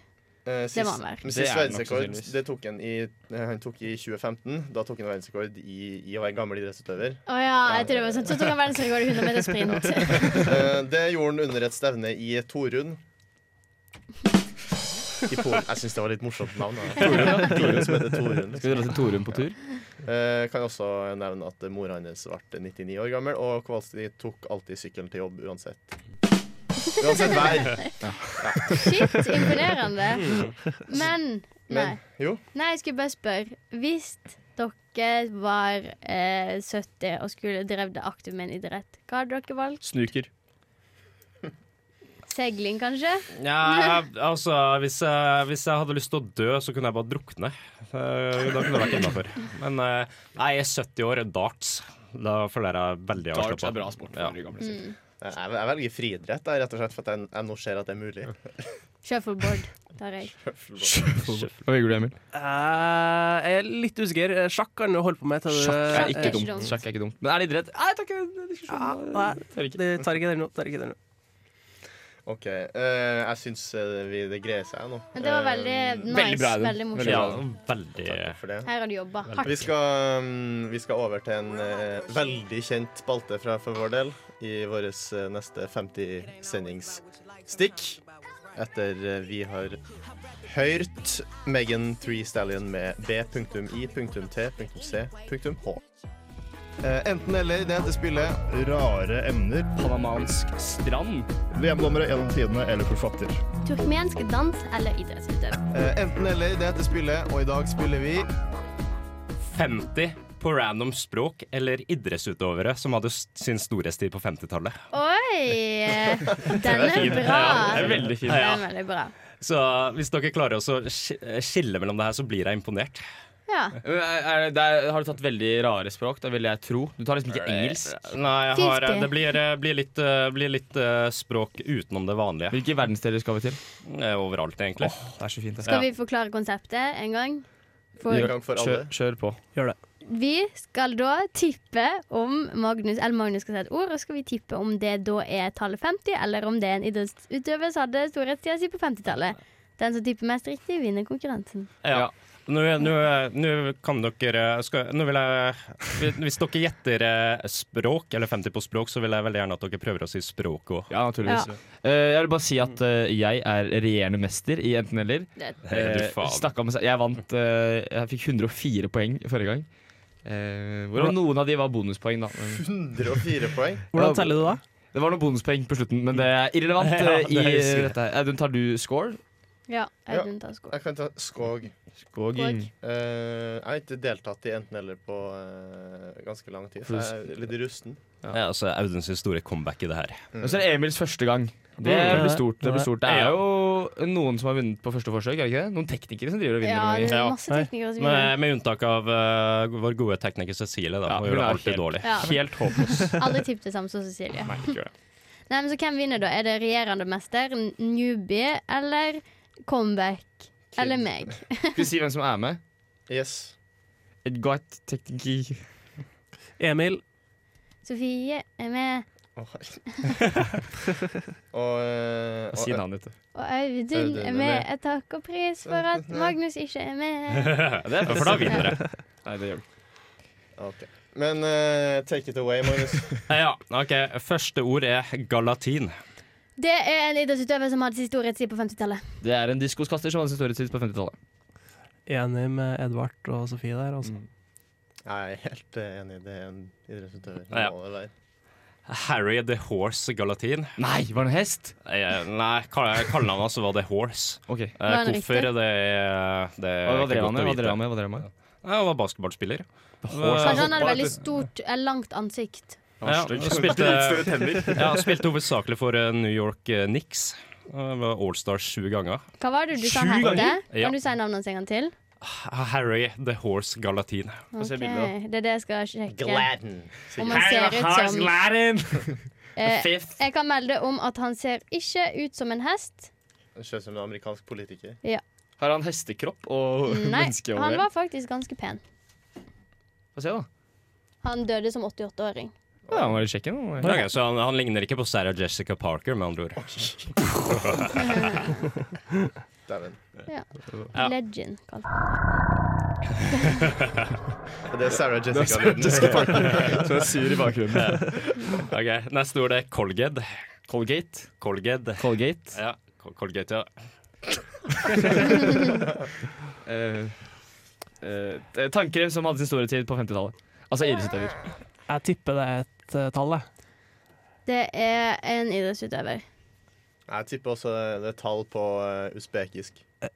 S3: Eh,
S4: Det må han være.
S3: men
S2: Det
S3: Sist
S2: er han nok
S3: verdensrekord
S2: sannsynligvis.
S3: det tok han, i, eh, han tok i 2015. Da tok han verdensrekord i, i å være gammel [laughs] idrettsutøver.
S4: Å ja, jeg tror det var sånn. Så tok han verdensrekord i 100 meter sprint.
S3: Eh, det gjorde han under et stevne i Torun. I Polen. Jeg syns det var litt morsomt navn. da.
S2: Torun, ja.
S3: Torun som heter liksom. Torun.
S2: Skal vi dra til Torunn på tur?
S3: Eh, kan også nevne at mora hans ble 99 år gammel, og Kowalski tok alltid sykkelen til jobb [laughs] uansett. Uansett vær. Ja.
S4: Shit, imponerende. Men Nei.
S3: Men jo.
S4: Nei, jeg skulle bare spørre. Hvis dere var eh, 70 og skulle drevet aktivt med en idrett, hva hadde dere valgt?
S2: Snuker.
S4: Seiling, kanskje?
S6: Ja, altså, hvis jeg, hvis jeg hadde lyst til å dø, så kunne jeg bare drukne. Eh, Da kunne det vært innafor. Men eh, nei, jeg er 70 år, darts. Da føler jeg veldig
S2: Darts
S6: avslappa.
S2: er bra sport for de
S4: Mm.
S2: gamle sider.
S3: Jeg, jeg velger friidrett, da, rett og slett, for at jeg, jeg nå ser at det er mulig.
S4: Shuffleboard tar jeg.
S2: Hva velger du, Emil?
S5: Eh, jeg er litt usikker. Eh, Sjakk kan du holde på med. til du-
S2: Sjakk er ikke
S5: eh,
S2: dumt. Sjakk er ikke dumt. Men er det idrett? Nei, takk. Diskusjon.
S5: Nei, det tar ikke den nå. Tar ikke den nå.
S3: OK. eh, jeg syns vi det greier seg nå.
S4: Men det var veldig
S3: Eh,
S4: nice. Veldig, bra, Adam. veldig morsomt.
S6: Ja,
S3: Takk for det.
S4: Her har du jobba
S3: Vi
S4: hardt.
S3: skal, mm, vi skal over til en eh, veldig kjent spalte fra for vår del i vår eh, neste 50-sendingsstikk. Etter eh, vi har hørt Megan Three Stallion med B.I.T.C.H. Eh, enten eller, det heter spillet.
S9: Rare emner.
S2: Panamansk strand.
S9: VM-dommere gjennom tidene eller forfatter.
S4: Turkmensk dans eller idrettsutøver.
S3: Eh, enten eller, det heter spillet, og i dag spiller vi
S6: 50 på random språk eller idrettsutøvere som hadde s- sin storhetstid på 50-tallet.
S4: Oi! Den
S6: Den er
S4: er
S6: fin.
S4: bra.
S6: Ja, den er veldig fin.
S4: Den er veldig bra.
S6: Så hvis dere klarer å sk- skille mellom det her, så blir jeg imponert.
S4: Ja.
S2: Men Er, er, det- det er, har du tatt veldig rare språk? Det vil jeg tro. Du tar liksom ikke engelsk.
S6: Nei, jeg har,
S2: 50.
S6: det blir, eh, blir litt, eh, blir litt eh, språk utenom det vanlige. eh,
S2: Hvilke verdensdeler skal vi til?
S6: Overalt, egentlig.
S2: det er så fint.
S4: Skal vi forklare konseptet en gang? For
S2: kjør, kjør på.
S5: Gjør det.
S4: vi skal da tippe om Magnus Eller Magnus skal si et ord, og skal vi tippe om det da er tallet 50, eller om det er en idrettsutøver som hadde storhetstida si på 50-tallet. Den som tipper mest riktig, vinner konkurransen.
S6: Ja. Nå, nå, nå kan dere skal, Nå vil jeg Hvis dere gjetter eh, språk, eller 50 på språk, så vil jeg veldig gjerne at dere prøver å si språk òg.
S2: Ja, naturligvis.
S6: Ja.
S2: Eh, jeg vil bare si at eh, jeg er regjerende mester i enten-eller.
S6: Det- Nei, du faen.
S2: med seg Jeg vant eh, Jeg fikk 104 poeng forrige gang. Eh, hvorav noen av de var bonuspoeng, da. Men-
S3: 104 poeng.
S2: Hvordan teller du da? Det var noen bonuspoeng på slutten, men det er [laughs] irrelevant.
S3: Ja,
S2: eh,
S3: det
S2: i
S3: husker jeg.
S2: dette her. Audun, tar du score?
S4: Ja,
S3: Ja,
S4: Audun tar skog.
S3: Jeg kan ta skog.
S2: Skoging. Skog.
S3: Eh, jeg har ikke deltatt i enten eller på eh, ganske lang tid, så jeg er litt rusten.
S6: Ja. altså Audun sin store comeback i det her.
S2: Og så er det Emils første gang. Det
S6: Mm.
S2: blir stort. Det, blir stort. det
S6: Ja.
S2: er jo noen som har vunnet på første forsøk, er det ikke det? Noen teknikere som driver og vinner.
S4: Ja,
S2: noen
S4: det er
S2: ganger.
S4: masse teknikere som
S6: Med,
S4: vinner.
S6: med unntak av eh, vår gode tekniker Cecilie, da. hun
S2: hun
S6: gjør det
S2: er
S6: alltid
S2: helt-
S6: [laughs]
S4: [laughs]
S6: dårlig.
S4: Ja.
S6: Helt håpløs.
S4: Alle tippet det samme som Cecilie.
S6: Nei, ikke gjør det.
S4: Nei, men så Hvem vinner, da? Er det regjerende mester, n- newbie eller comeback? Eller meg?
S2: [laughs] Skal vi si hvem som er med?
S3: Mm. Yes.
S2: Et godt teknikk...
S5: Emil.
S4: Sofie er med.
S3: Og, eh,
S2: Si
S3: og-
S2: navnet ditt.
S4: Og Audun er med. Jeg takker pris for at Magnus ikke er med.
S6: [laughs]
S3: Det er
S6: For da vinner jeg.
S2: Nei, det gjør du.
S3: Ok. Men eh, take it away, Magnus. [laughs]
S6: Ja, OK. Første ord er galatin.
S4: Det er en idrettsutøver som hadde sin storhetstid på 50-tallet.
S2: Det er en diskoskaster som hadde sin storhetstid på 50-tallet.
S5: Enig med Edvard og Sofie der, altså.
S3: Jeg er helt eh, enig. Det er en idrettsutøver.
S6: Ja.
S3: Må det være.
S6: Harry the Horse Galatin. Eh,
S2: Nei, var det en hest?
S6: Nei, kall- kallenavnet hans var altså The Horse. Eh,
S2: Okay.
S4: Var han
S6: hvorfor,
S4: riktig?
S6: det, er- det er
S2: Hva- hva
S6: ikke
S2: drev
S6: godt
S2: han
S6: å
S2: med? Hva
S6: vite.
S2: drev han med? Hva drev han med?
S6: Ja, Han var basketballspiller.
S4: Kanskje
S6: altså,
S4: han hadde veldig stort, eh, langt ansikt.
S6: Ja,
S2: stygg.
S6: spilte,
S2: Utstøtt hender.
S6: [laughs] ja, spilte hovedsakelig for eh, New York eh, Knicks. Han var All-Star sju ganger.
S4: Hva var det du sa
S6: Sju
S4: han
S6: ganger?
S4: het?
S6: Ja.
S4: Kan du si navnet hans en gang til?
S6: Ah, Harry the Horse Galatin.
S4: Ok, Det er det jeg skal sjekke. Om han
S6: Harry
S4: ser
S6: the
S4: ut
S6: Horse
S4: som
S6: Galatin!
S4: [laughs] eh,
S2: Fifth.
S4: Jeg kan melde om at han ser ikke ut som en hest.
S3: Det Ser ut som en amerikansk politiker.
S4: Ja.
S2: Har han hestekropp og
S4: Nei, han var faktisk ganske pen.
S2: Få se, da.
S4: Han døde som 88-åring.
S2: Ja, han var i Tsjekkia. nå.
S6: Ok, så han, han ligner ikke på Sarah Jessica Parker, med andre ord.
S3: Dæven.
S4: Ja.
S6: Ja.
S4: Legend, kalt han.
S3: Det er Sarah
S6: Det er
S3: Jessica
S6: Sarah
S3: Lyden.
S6: Jessica Parker.
S2: Som er sur i bakgrunnen.
S6: Ja. Ok, Neste ord er Colgate.
S2: Colgate.
S6: Colgate.
S2: [laughs] Colgate.
S6: Ja, Col- Colgate, ja.
S2: Eh, eh, Tannkrem som hadde sin store tid på 50-tallet. Altså idrettsutøver.
S5: Jeg tipper det er et eh, tall, jeg.
S4: Det er en idrettsutøver.
S3: [laughs] Jeg tipper også det er tall på eh, usbekisk.
S6: Ja.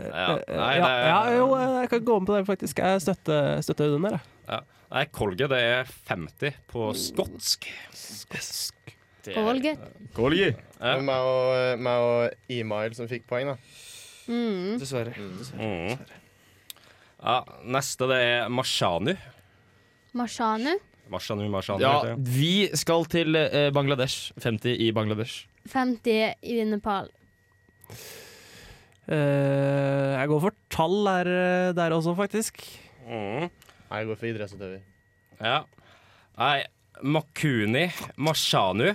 S5: Eh,
S6: Nei,
S5: ja,
S6: det er-
S5: ja, jo, eh, jeg kan gå med på det, faktisk. Jeg støtter, støtter Audun der, jeg.
S6: Ja. Nei, Colgate det er 50 på skotsk.
S5: Skotsk.
S6: Det er-
S4: Colgate.
S2: Golgi.
S3: Ja. Meg og, eh, meg og Email som fikk poeng, da.
S4: Mm.
S2: Dessverre.
S6: Mm. Ja, neste det er Mashanu.
S4: Mashanu.
S6: Mashanu, Mashanu.
S2: Ja,
S6: heter det.
S2: vi skal til eh, Bangladesh. 50 i Bangladesh.
S4: 50 i Nepal.
S5: Eh, jeg går for tall der, eh, der også, faktisk.
S3: Jeg går for idrettsutøver.
S6: Ja. Nei, Makuni, Mashanu.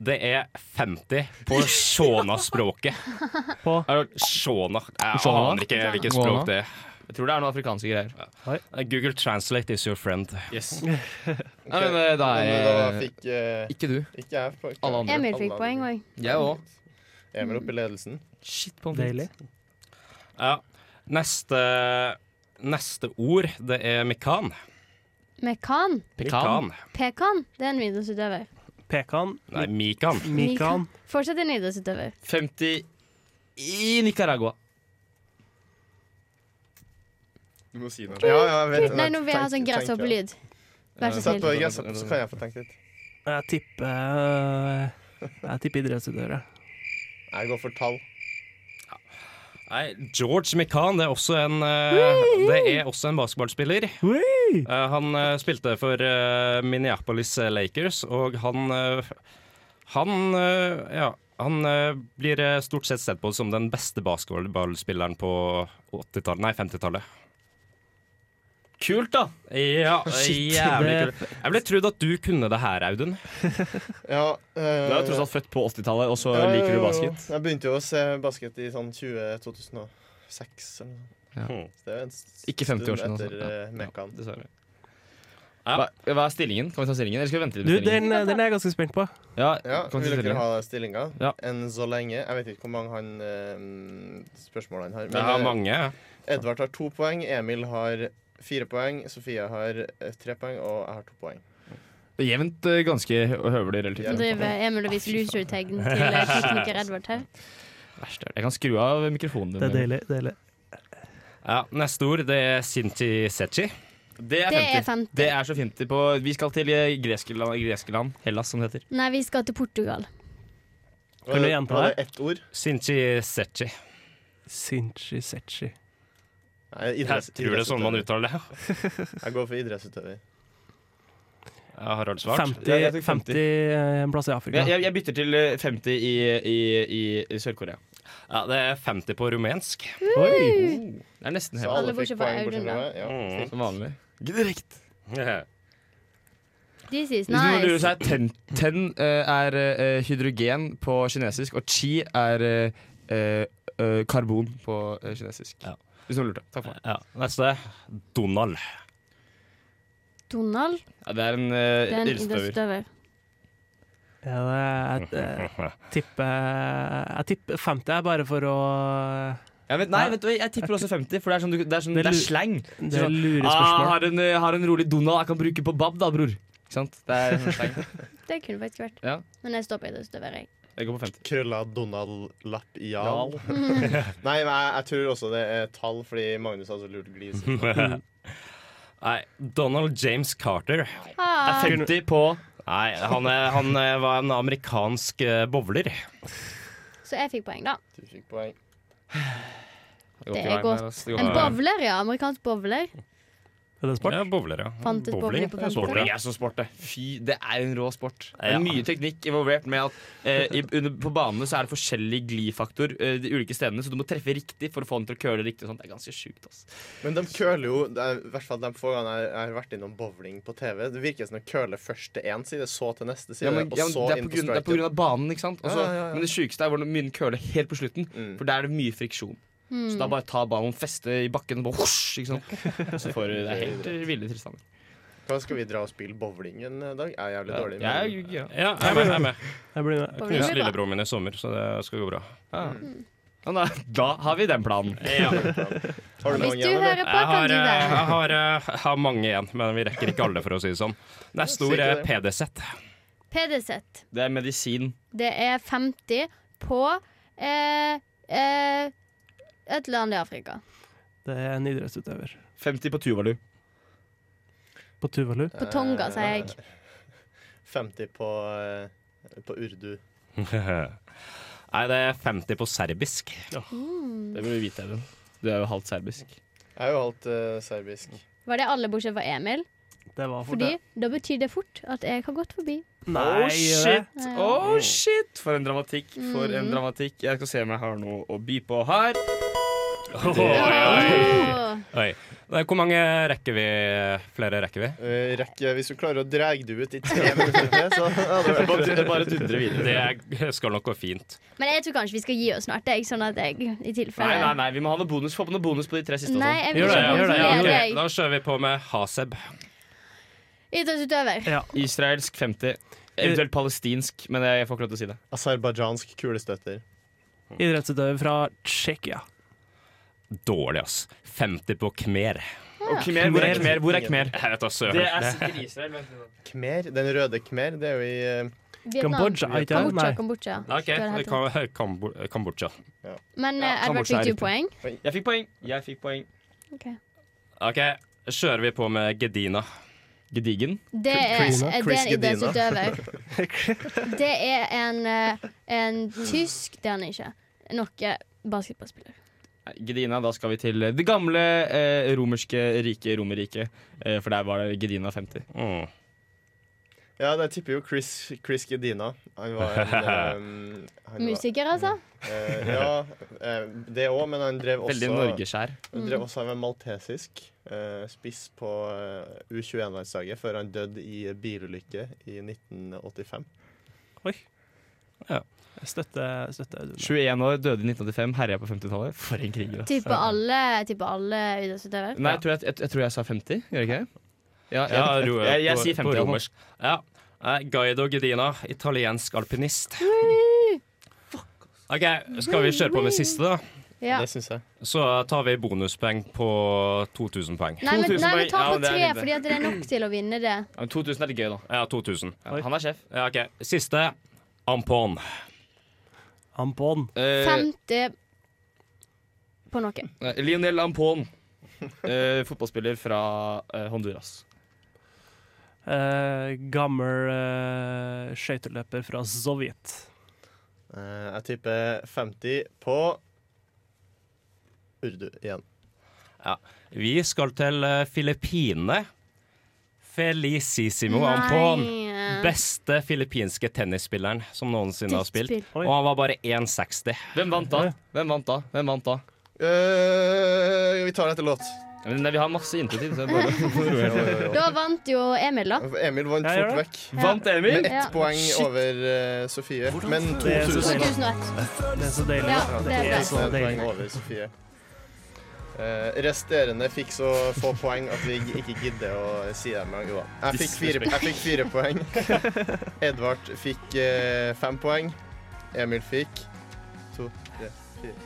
S6: Det er 50 på shona-språket.
S5: På?
S6: Shona. Jeg
S2: Shona?
S6: aner ikke hvilket
S2: Shona.
S6: språk det er.
S2: Jeg tror det er noen afrikanske greier.
S6: Google translate is your friend.
S2: Yes.
S3: Ok,
S2: Nei, men eh, da
S3: men da
S2: er
S3: fikk eh,
S2: Ikke du.
S3: Ikke jeg. for-
S2: Alle andre.
S4: Emil fikk
S3: Alle
S4: poeng
S3: andre.
S4: òg.
S2: Jeg òg.
S3: Emil oppe i ledelsen.
S2: Shit på
S5: Deilig.
S6: Ja. Neste, neste ord, det er mikan.
S4: Mekan.
S6: Pekan.
S4: Pekan. Det er en idrettsutøver.
S5: Pekan.
S6: Nei, Mikan.
S4: Fortsatt en idrettsutøver.
S2: 50 i Nicaragua.
S3: Du må si noe. Ja, ja, jeg vet,
S4: Nei, nå vil jeg ha
S3: Tenk-
S4: sånn
S3: tenk, ja.
S4: gresshoppelyd. Vær så
S3: Sett på
S4: snill.
S3: gresshoppe, så kan jeg få tenke litt.
S5: Jeg tipper Jeg tipper idrettsutøvere.
S3: Jeg går for tall.
S6: Nei, George Mikan det er også en, eh, det er også en basketballspiller. Eh, han eh, spilte for eh, Minneapolis Lakers, og han eh, Han, eh, ja, han eh, blir eh, stort sett sett på som den beste basketballspilleren på 80-tallet, nei, 50-tallet.
S2: Kult, da!
S6: Ja,
S2: [laughs] Shit,
S6: jævlig
S2: det-
S6: kult. Jeg ville trodd at du kunne det her, Audun.
S3: Ja,
S2: Du er jo tross alt født på 80-tallet, og så
S3: Eh, Ja, jo,
S2: liker du
S3: jo, jo.
S2: basket.
S3: Jeg begynte jo å se basket i sånn 20, 2006 eller noe.
S6: Hm,
S3: Så det er en s-
S2: Ikke 50 år siden,
S3: stund
S2: altså.
S3: Etter
S2: Ja,
S3: eh, Mekkan.
S2: dessverre. Hva, hva er stillingen? Kan vi ta stillingen? Eller skal vi vente litt
S5: Du,
S2: med
S5: den, eh,
S2: stillingen?
S5: den er jeg ganske spent på.
S2: Ja,
S3: Ja,
S2: kan vi
S3: vil dere
S2: ta stillingen?
S3: ha den stillinga?
S2: Ja.
S3: Enn så lenge. Jeg vet ikke hvor mange han eh, spørsmål han har.
S6: Jeg har
S3: eh,
S6: mange.
S3: Edvard har to poeng, Emil har fire poeng, Sofie har eh, tre poeng, og jeg har to poeng.
S2: Det er Jevnt eh, ganske hø- høvelig
S4: Nå
S2: relativt.
S4: driver Emil og viser loser-tegn til eh, tekniker Edvard her.
S2: Verst er det. Jeg kan skru av mikrofonen din.
S5: Det er deilig. deilig.
S6: Ja, neste ord det er Sinti Sechi.
S2: Det er
S4: Det
S2: 50.
S4: er 50.
S2: Det er så 50 på Vi skal til eh, greske land, greske land Hellas, som det heter.
S4: Nei, vi skal til Portugal.
S5: Kan du gjenta det?
S3: ett ord?
S6: Sinti Sechi.
S5: Sinchi sechi.
S3: Nei,
S6: Jeg tror det er sånn man uttaler det.
S3: Jeg går for idrettsutøver.
S6: Jeg har alt svart.
S5: 50,
S2: Ja, jeg tok 50.
S5: 50 plasser eh, i Afrika.
S2: Jeg, jeg, jeg bytter til eh, 50 i, i, i, i Sør-Korea.
S6: Ja, det er 50 på rumensk.
S2: Oi! Det er nesten
S3: Så
S2: helt
S3: alle
S4: Alle
S3: fikk
S4: bortsett fra
S3: poeng bortsett
S4: Audun,
S3: fra
S4: da.
S3: meg. Ja,
S6: [laughs] Mm.
S2: som vanlig.
S4: This is
S2: Hvis du lurer,
S4: nice.
S2: så er ten, ten eh, er eh, hydrogen på kinesisk, og chi er eh, eh, karbon på eh, kinesisk.
S6: Ja.
S2: Hvis noen lurte. Takk for meg.
S6: Ja, neste. Donald. [laughs]
S4: Donald,
S2: Ja, det er en
S4: det er
S2: uh,
S4: en
S2: ildstøver.
S4: idrettsutøver.
S5: Ja, det, jeg, jeg,
S2: [laughs]
S5: tipper, jeg tipper 50 er bare for å
S2: Ja, vet, nei, vet du, hva, jeg tipper også 50, for det er sånn, du- det er, sånn,
S5: Det
S2: det
S5: er
S2: er
S5: lu-
S2: slang.
S5: Det
S2: Så
S5: er
S2: sånn,
S5: lurespørsmål.
S2: ah, har, en, eh, har en rolig Donald jeg kan bruke på bab, da, bror. Ikke sant? Det er sånn slang.
S4: Det kunne faktisk vært.
S2: Ja,
S4: Men jeg står på idrettsutøver, jeg.
S2: jeg går på 50.
S3: Krølla Donald-lapp i
S2: Jarl.
S3: Jarl. Nei, men jeg, jeg tror også det er tall, fordi Magnus hadde så lurt
S2: [laughs]
S3: glis.
S6: Nei, Donald James Carter.
S2: Det
S4: Ah,
S2: er 50 på
S6: Nei, han, er, han er- var en amerikansk eh, bowler.
S4: så jeg fikk poeng, da.
S3: Du fikk poeng.
S4: Det er godt. En bowler, ja. Amerikansk bowler.
S5: Er det sport?
S6: Ja, bowler, ja.
S4: Fant et bowling på
S6: er
S4: 50.
S6: bowling.
S2: Bowling er så sport, det. Fy, det er en rå sport. Det
S6: Ja.
S2: er mye teknikk involvert med at eh, i, under, på banene så er det forskjellig glidfaktor eh, de ulike stedene, så du må treffe riktig for å få den til å køle riktig. og Sånt. Det er ganske sjukt, ass.
S3: Men de køler jo det er, I hvert fall de få gangene jeg jeg har vært innom bowling på TV. Det virker som de køler først til én side, så til neste side,
S2: Ja, men, ja,
S3: og
S2: men
S3: så
S2: det, er
S3: inn
S2: på
S3: på
S2: grunn, det er
S3: striker.
S2: på grunn av banen, ikke sant? Og
S3: Ja,
S2: så-
S3: ja, ja.
S2: Men det sjukeste er hvordan mynden køler helt på slutten, for der er det mye friksjon.
S4: Hmm.
S2: Så
S4: Mm.
S2: da bare ta ballen, feste i bakken, og bare husj, ikke sant? Og så får du det er helt eh, ville tilstander.
S3: Hva skal vi dra og spille bowling en dag? Jeg er jævlig dårlig.
S2: Ja,
S3: men-
S2: ja.
S6: Ja, jeg er med. Jeg er med.
S5: Jeg blir med.
S4: Bowling
S6: Knust
S4: blir bra.
S6: lillebroren min i sommer, så det skal gå bra.
S4: Mm.
S2: Ja, da, da har vi den planen.
S4: [laughs]
S6: Ja.
S3: Har du mange
S4: Hvis du
S3: igjen, eller?
S4: hører på,
S6: Jeg har,
S4: kan
S6: eh,
S4: du
S6: jeg,
S4: det.
S6: har, eh, jeg har mange igjen, men vi rekker ikke alle, for å si det sånn. Neste ord er PDZ.
S4: Pederset.
S2: Det er medisin.
S4: Det er 50 på eh, eh, et land i Afrika.
S5: Det er en idrettsutøver.
S2: 50 på Tuvalu.
S5: På Tuvalu.
S4: På Tonga, sier
S6: Eh,
S4: jeg.
S3: 50 på, eh, på urdu.
S6: [laughs] Nei, det er 50 på serbisk.
S4: Mm.
S2: Det burde du vite, Even. Du er jo halvt serbisk.
S3: Jeg er jo halvt eh, serbisk.
S4: Var det alle bortsett fra Emil?
S5: Det var for
S4: Fordi
S5: det.
S4: da betyr det fort at jeg har gått forbi. Eh.
S5: Nei,
S2: oh
S5: det-
S2: shit!
S4: Ja. Mm.
S2: Oh shit! For en dramatikk. For en dramatikk. Jeg skal se om jeg har noe å by på her.
S4: Åh.
S6: Oi. Nei, Hvor mange rekker vi? Flere rekker vi?
S3: Eh, rekker, hvis du klarer å dra det ut i
S4: [laughs]
S3: tre minutter til, så hadde det vært
S2: Det bare dundrer videre.
S6: Det er- skal nok gå fint.
S4: Men jeg tror kanskje vi skal gi oss snart, jeg, sånn at jeg i
S2: Nei, nei,
S4: tilfelle
S2: nei, vi må ha noe bonus. Få på noe bonus på de tre siste. og
S4: Nei,
S2: sånn.
S4: jeg vil ikke
S6: Gjør det, ja,
S4: kontrollere
S6: ok.
S4: deg.
S6: Da kjører vi på med Haseb.
S4: Idrettsutøver.
S5: Ja.
S2: Israelsk 50. Eventuelt palestinsk, men jeg får ikke lov til å si det.
S3: Aserbajdsjansk kulestøtter.
S5: Idrettsutøver fra Tsjekkia.
S6: Dårlig, ass. 50 på khmer.
S2: Og Khmer, hvor er Khmer? Hvor er Khmer?
S6: Jeg vet da søren.
S2: Det er sikkert Israel. vent litt.
S3: Khmer, Den røde khmer, det er jo i eh,
S4: Vietnam. Kambodsja, ikke det? Kambodsja, Nei. Kambodsja.
S6: Ok,
S4: Du har helt
S6: Kam- Kambo- Kambodsja.
S4: Men eh, Edvard,
S6: Kambodsja er
S4: fikk du
S6: riktig.
S4: poeng?
S2: Jeg fikk poeng. Jeg fikk poeng.
S4: Ok.
S6: Ok, kjører vi på med Gedina.
S2: Gedigen?
S4: Det er, eh, det er en
S6: [laughs]
S4: idrettsutøver. Det er en, eh, en tysk Det er han ikke. Noe basketballspiller.
S2: Gedina, da skal vi til det gamle eh, romerske riket, Romerriket. Eh, for der var det Gedina 50.
S6: Mm.
S3: Ja, jeg tipper jo Chris, Chris Gedina. Han var en eh, han var-
S4: Musiker, altså?
S3: Eh, ja, eh, det òg, men han drev også
S2: Veldig norgeskjær.
S3: Han drev
S4: Mm.
S3: også med maltesisk eh, spiss på eh, U21-landslaget før han døde i bilulykke i 1985.
S5: Oi. Ja. Jeg støtter, støtter Audun.
S2: 21 år, døde i 1985, herja på 50-tallet. For en kriger.
S6: [laughs]
S2: ass.
S4: Type alle, type alle idrettsutøvere?
S2: Nei, jeg tror jeg, jeg, jeg tror jeg sa 50, gjør jeg ikke det? Ja,
S6: Ja, ro,
S2: jeg, jeg
S6: på-
S2: sier
S6: På
S2: 50. Anna.
S6: romersk. Ja. Eh, Guido Gedina, italiensk alpinist. OK, skal vi kjøre på med siste, da?
S4: Ja. Det
S3: syns jeg.
S6: Så tar vi bonuspoeng på 2000 poeng.
S4: Nei, men, nei, men ta
S6: Ja,
S4: på
S6: det er
S4: tre,
S6: nydelig.
S4: fordi at det er nok til å vinne det.
S2: Ja, men 2000 er litt gøy, da.
S6: Ja, 2000.
S2: Han er sjef.
S6: Ja, ok. Siste. Ampon.
S5: Ampon.
S6: Eh,
S4: 50 på noe.
S2: Eh, Nei, Lionel Ampon. Eh, fotballspiller fra eh, Honduras.
S5: Eh, gammel eh, skøyteløper fra Sovjet.
S3: Eh, jeg tipper 50 på urdu igjen.
S6: Ja. Vi skal til eh, Filippinene. Felicissimo
S4: Nei. eh,
S6: Ampon. Beste filippinske tennisspilleren som noensinne har spilt.
S4: Drittspill.
S6: Og han var bare 1,60.
S2: Hvem vant da? Hvem vant da? Hvem vant da?
S3: Eh, vi tar det etter låt.
S2: Nei, vi har masse intetid. så det
S6: [laughs]
S2: er bare-
S4: Da vant jo Emil, da.
S3: Emil vant
S2: Ja, gjør
S3: fort
S2: det.
S3: vekk.
S2: Ja. Vant Emil?
S3: Med ett
S4: Ja.
S3: poeng
S4: Shit.
S3: over eh, Sofie. Men
S4: Det er så
S3: 2000.
S4: 2001.
S5: Det er så deilig.
S4: Ja, det er
S3: Et
S4: så
S3: poeng
S4: deilig.
S3: over Sofie. Eh, resterende fikk så få poeng at vi ikke gidder å si dem engang. Jo da. Jeg fikk fire, jeg fikk fire
S2: [laughs]
S3: poeng. Edvard fikk eh, fem poeng. Emil fikk to, tre, fire.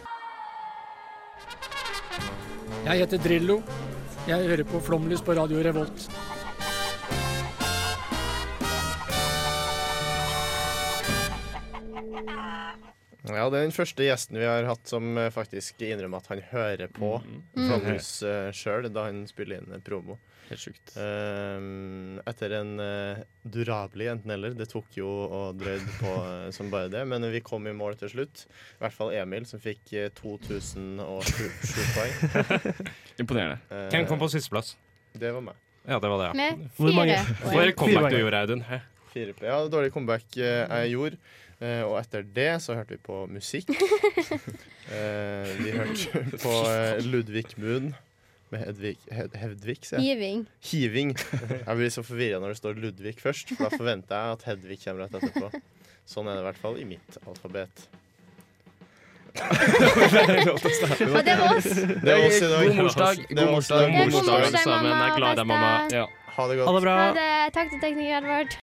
S10: Jeg heter Drillo. Jeg hører på Flomlys på Radio Revolt.
S3: Ja, det er den første gjesten vi har hatt som eh, faktisk innrømmer at han hører på
S4: Mm.
S3: Flomlys uh, sjøl da han spiller inn en promo. Ehm,
S2: Helt sjukt.
S3: etter en uh, durabelig enten-eller. Det tok jo og drøyd på eh, som bare det, men vi kom i mål til slutt. I hvert fall Emil, som fikk eh, 2007 poeng.
S2: Imponerende.
S3: Eh,
S6: Hvem kom på sisteplass?
S3: Det var meg.
S6: Ja, det var det, ja.
S3: Med
S6: Hvor mange-
S3: fire poeng.
S6: Hvor
S3: Fire
S6: comeback du
S3: poeng.
S6: gjorde, Audun? Hæ?
S3: Fire, ja, det var dårlig comeback eh, jeg gjorde. Eh, og etter det så hørte vi på [laughs] musikk. Eh, vi hørte på eh, Ludvig Moon med Hedvig, Hed, Hedvig sier jeg?
S4: Hiving.
S3: Hiving. Jeg blir så forvirra når det står Ludvig først, for da forventer jeg at Hedvig kommer rett etterpå. Sånn er det i hvert fall i mitt
S2: [laughs]
S3: alfabet.
S4: Og det var oss.
S3: Det var oss i dag.
S2: God morsdag, god
S3: Det var oss i dag.
S2: morsdag. Ja, god morsdag,
S4: morsdag, mamma,
S3: Jeg er glad i deg, mamma.
S4: beste.
S3: Ha det godt.
S4: Ha det. Takk til tekniker Edvard.